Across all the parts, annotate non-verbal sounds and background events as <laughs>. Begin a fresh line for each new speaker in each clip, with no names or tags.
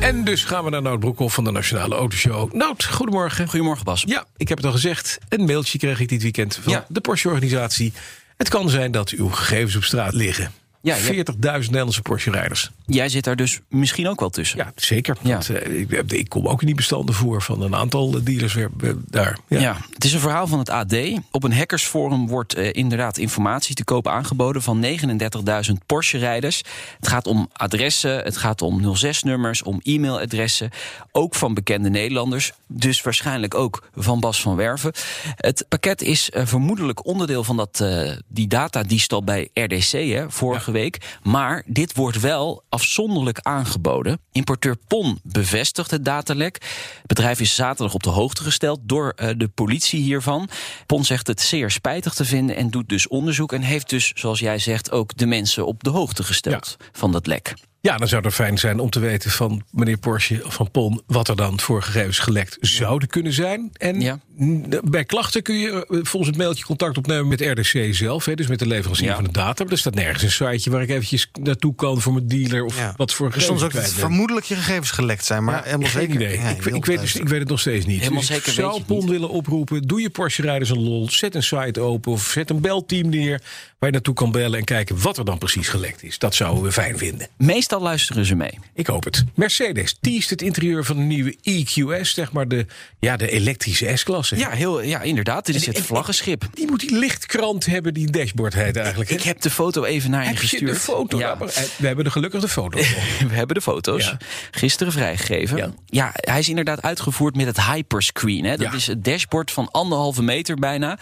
En dus gaan we naar Nout Broekhoff van de Nationale Autoshow. Nout, goedemorgen.
Goedemorgen Bas.
Ja, ik heb het al gezegd. Een mailtje kreeg ik dit weekend van
Ja.
de Porsche-organisatie. Het kan zijn dat uw gegevens op straat liggen.
Ja, ja.
40.000 Nederlandse Porsche-rijders.
Jij zit daar dus misschien ook wel tussen.
Ja, zeker.
Ja.
Want, eh, ik, heb- ik kom ook in die bestanden voor van een aantal eh, dealers weer, eh, daar. Ja.
Ja. het is een verhaal van het AD. Op een hackersforum wordt eh, inderdaad informatie te koop aangeboden van 39.000 Porsche-rijders. Het gaat om adressen, het gaat om 06-nummers, om e-mailadressen. Ook van bekende Nederlanders, dus waarschijnlijk ook van Bas van Werven. Het pakket is eh, vermoedelijk onderdeel van dat, eh die datadiefstal bij RDC hè, vorige week. Maar dit wordt wel afzonderlijk aangeboden. Importeur Pon bevestigt het datalek. Het bedrijf is zaterdag op de hoogte gesteld door eh, de politie hiervan. Pon zegt het zeer spijtig te vinden en doet dus onderzoek. En heeft dus, zoals jij zegt, ook de mensen op de hoogte gesteld van dat lek.
Ja, dan zou het fijn zijn om te weten van meneer Porsche of van Pon... wat er dan voor gegevens gelekt zouden kunnen zijn. En
Ja.
n- bij klachten kun je eh, volgens het mailtje contact opnemen met RDC zelf. Hè, dus met de leverancier
Ja.
van de data. Maar er staat nergens een siteje waar ik eventjes naartoe kan voor mijn dealer... of
Ja.
wat voor
Er stond
gegevens
ook dat
kwijt ben.
vermoedelijk je gegevens gelekt zijn, maar helemaal
Geen
zeker.
idee.
Ja,
ik,
heel
ik, weet dus, ik weet het nog steeds niet.
Helemaal
Dus ik
zeker weet
zou
je het
Pon
niet.
willen oproepen. Doe je Porsche-rijders een lol. Zet een site open of zet een belteam neer... waar je naartoe kan bellen en kijken wat er dan precies gelekt is. Dat zouden we fijn vinden.
Meestal luisteren ze mee.
Ik hoop het. Mercedes teest het interieur van de nieuwe EQS, zeg maar de, ja, de elektrische S-klasse.
Ja, heel, ja inderdaad. Dit is
En-
het
en-
vlaggenschip.
Die moet die lichtkrant hebben, die dashboard heet eigenlijk.
Ik
hè?
heb de foto even naar je
Heb je
gestuurd.
de foto.
Ja.
Maar, eh, We hebben de gelukkig de foto.
<laughs> We hebben de foto's.
Ja.
Gisteren vrijgegeven.
Ja.
Ja. hij is inderdaad uitgevoerd met het hyperscreen. Hè. Dat
Ja.
is het dashboard van anderhalve meter bijna.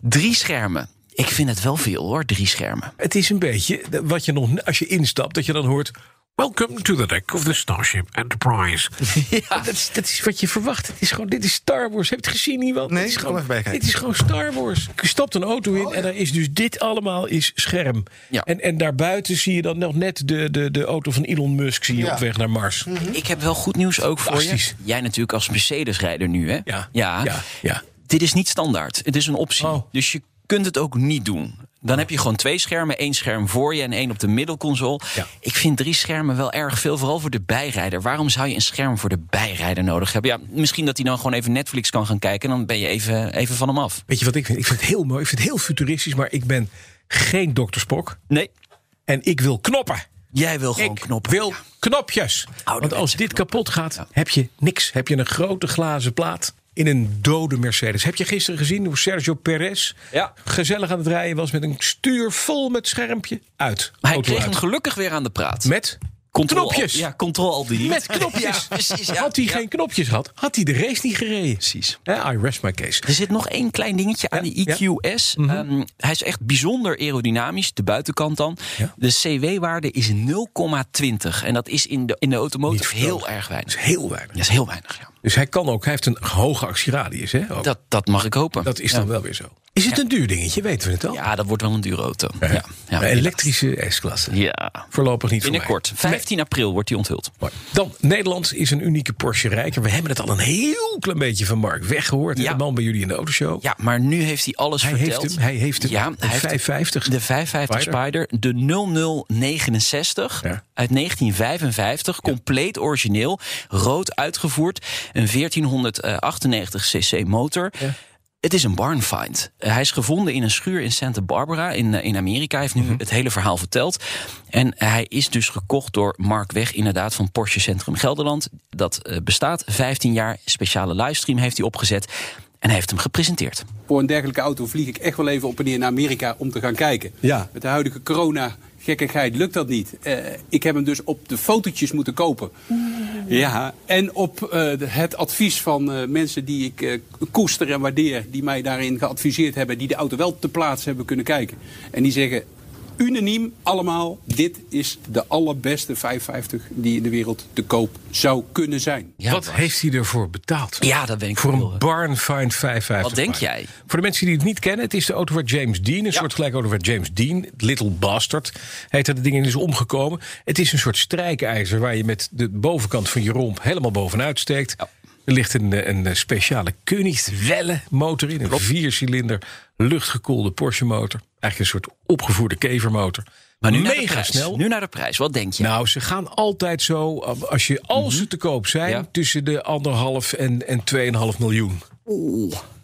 Drie schermen. Ik vind het wel veel hoor, drie schermen.
het is een beetje wat je nog, als je instapt, dat je dan hoort. Welcome to the deck of the Starship
<laughs>
Enterprise. ja, dat is, dat is wat je verwacht. Het is gewoon, dit is Star Wars. Heb je het gezien, iemand?
Nee,
dit is
ik kom
gewoon,
even Oh, bijkijken.
Dit is gewoon Star Wars. Je stapt een auto in en daar is dus dit allemaal is scherm.
Ja.
En, en daarbuiten zie je dan nog net de, de, de auto van Elon Musk zie je
Ja. Mhm.
op weg naar Mars.
Ik heb wel goed nieuws ook voor je.
Hm? Fantastisch.
Jij natuurlijk als Mercedes-rijder nu, hè?
Ja.
ja.
ja, ja.
Dit is niet standaard. Het is een optie.
Oh.
Dus je kunt het ook niet doen. Dan heb je gewoon twee schermen. één scherm voor je en één op de middelconsole.
Ja.
Ik vind drie schermen wel erg veel. Vooral voor de bijrijder. Waarom zou je een scherm voor de bijrijder nodig hebben? Ja, misschien dat hij dan gewoon even Netflix kan gaan kijken. En dan ben je even, even van hem af.
Weet je wat ik vind? Ik vind het heel mooi. Ik vind het heel futuristisch, maar ik ben geen Dr. Spock.
Nee,
En ik wil knoppen.
jij wil gewoon
Ik
knoppen.
wil knopjes. Want als
mensen
dit kapot gaat, heb je niks. Heb je een grote glazen plaat in een dode Mercedes. Heb je gisteren gezien hoe Sergio Perez
Ja.
gezellig aan het rijden was... met een stuur vol met schermpje uit.
Hij
Auto
kreeg hem
uit.
gelukkig weer aan de praat.
Met
Control-
knopjes.
Ja, control al die.
Met knopjes.
Ja, <laughs> precies, ja.
Had hij
Ja.
geen knopjes gehad, had hij de race niet gereden.
Precies.
Hè, I rest my case.
Er zit nog één klein dingetje aan
Ja, Mhm.
die EQS. Ehm, hij is echt bijzonder aerodynamisch, de buitenkant dan.
Ja.
De CW-waarde is 0,20. En dat is in de, in de
Niet
automotive
verstandig.
heel
Dat is
erg weinig.
heel weinig.
Dat is heel weinig, ja.
Dus hij kan ook, hij heeft een hoge actieradius. Hè, ook.
Dat, dat mag ik hopen.
Oh. Dat is
ja.
dan wel weer zo. Is het een duur dingetje? Weten we het al?
Ja, dat wordt wel een dure auto. Ja, ja,
Een elektrische S-klasse.
Ja.
Voorlopig niet voor mij.
Binnenkort,
Nee.
15 april wordt die onthuld.
Mooi. Dan, Nederland is een unieke Porsche rijker. We hebben het al een heel klein beetje van Mark weggehoord.
Ja.
De man bij jullie in de autoshow.
Ja, maar nu heeft hij alles
Hij
verteld.
heeft hem, hij heeft hem.
Ja,
De
hij heeft
550
De 550 Spider. De 0069
Ja.
uit 1955. Compleet origineel. Rood uitgevoerd. Een 1498 cc motor.
Ja.
Het is een barnfind. Eh, Hij is gevonden in een schuur in Santa Barbara in, eh, in Amerika. Hij heeft nu
Mhm.
het hele verhaal verteld. En hij is dus gekocht door Mark Weg, inderdaad, van Porsche Centrum Gelderland. Dat eh, bestaat 15 jaar. Speciale livestream heeft hij opgezet. En hij heeft hem gepresenteerd.
Voor een dergelijke auto vlieg ik echt wel even op en neer naar Amerika om te gaan kijken.
Ja.
Met de huidige corona gekkigheid lukt dat niet. Eh, ik heb hem dus op de fotootjes moeten kopen. Ja, en op eh, de- het advies van eh, mensen die ik eh, koester en waardeer... die mij daarin geadviseerd hebben, die de auto wel te plaatsen hebben kunnen kijken. En die zeggen, unaniem allemaal, dit is de allerbeste 550 die in de wereld te koop zou kunnen zijn.
Ja,
Wat
Bas.
heeft hij ervoor betaald?
Ja, dat ben ik
Voor
heel,
een
eh,
Barn Find 550.
Wat denk
Barn.
jij?
Voor de mensen die het niet kennen, het is de auto waar James Dean, een soort gelijke auto waar James Dean, Little Bastard, heet dat ding en is omgekomen. Het is een soort strijkijzer waar je met de bovenkant van je romp helemaal bovenuit steekt. Er ligt een, eh, een eh, speciale Koenigswelle motor in, een viercilinder luchtgekoelde Porsche motor. Eigenlijk een soort opgevoerde kevermotor.
Maar nu naar de
mega
prijs.
snel.
Nu naar de prijs. Wat denk je?
Nou, ze gaan altijd zo, als, je, als ze te koop zijn,
Mhm. Ja.
tussen de anderhalf en, en 2,5 miljoen.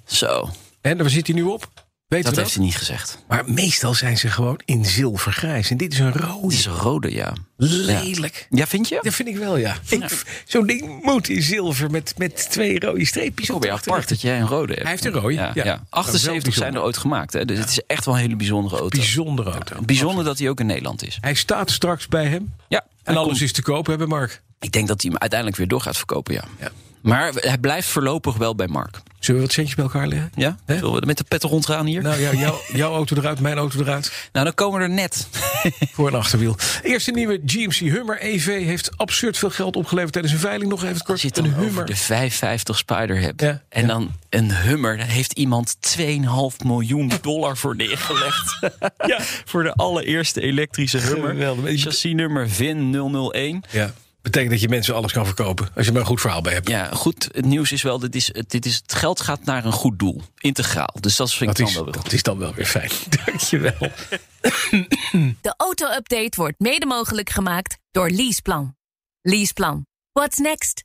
Zo.
En waar zit hij nu op? Weet
Dat
we
heeft
dat?
hij niet gezegd.
Maar meestal zijn ze gewoon in zilvergrijs. En dit is een
Het
rode.
is een rode, ja.
Lelijk.
Ja, vind je?
Dat vind ik wel, ja. Ik- Zo'n ding moet in zilver met, met twee rode streepjes.
Zo
op
weer
de
apart dat
achterkant.
jij een rode hebt.
Hij heeft een rode,
Ja,
ja.
ja.
Nou,
78
wel
zijn er ooit gemaakt. Hè? Dus het is echt wel een hele bijzondere auto.
Bijzonder auto.
Bijzonder dat hij ook in Nederland is.
Hij staat straks bij hem.
Ja.
En
Hij
alles
komt-
is te koop, hebben Mark.
Ik denk dat hij hem uiteindelijk weer door gaat verkopen, ja.
Ja.
Maar hij blijft voorlopig wel bij Mark.
Zullen we wat centjes bij elkaar leggen?
Ja?
Hè?
Zullen we met de pet rondgaan hier?
Nou ja, jouw, jouw auto eruit, mijn auto eruit.
nou, dan komen we er net.
Voor een achterwiel. Eerst een nieuwe GMC Hummer EV heeft absurd veel geld opgeleverd tijdens een veiling. Nog even
Als
kort.
je het
een
dan
Hummer.
over de 550 Spider hebt.
Ja,
en dan een Hummer. Daar heeft iemand 2,5 miljoen dollar voor
<laughs>
neergelegd. ja. Voor de allereerste elektrische Hummer.
Geweldig.
Chassisnummer VIN 001.
Ja. Betekent dat je mensen alles kan verkopen. Als je maar een goed verhaal bij hebt.
Ja, goed. Het nieuws is wel, dit is, dit is, het geld gaat naar een goed doel. Integraal. Dus dat vind
Dat
ik dan
is,
wel weer goed.
dat is dan wel weer fijn. <laughs> Dankjewel.
De auto-update wordt mede mogelijk gemaakt door Leaseplan. Leaseplan. What's next?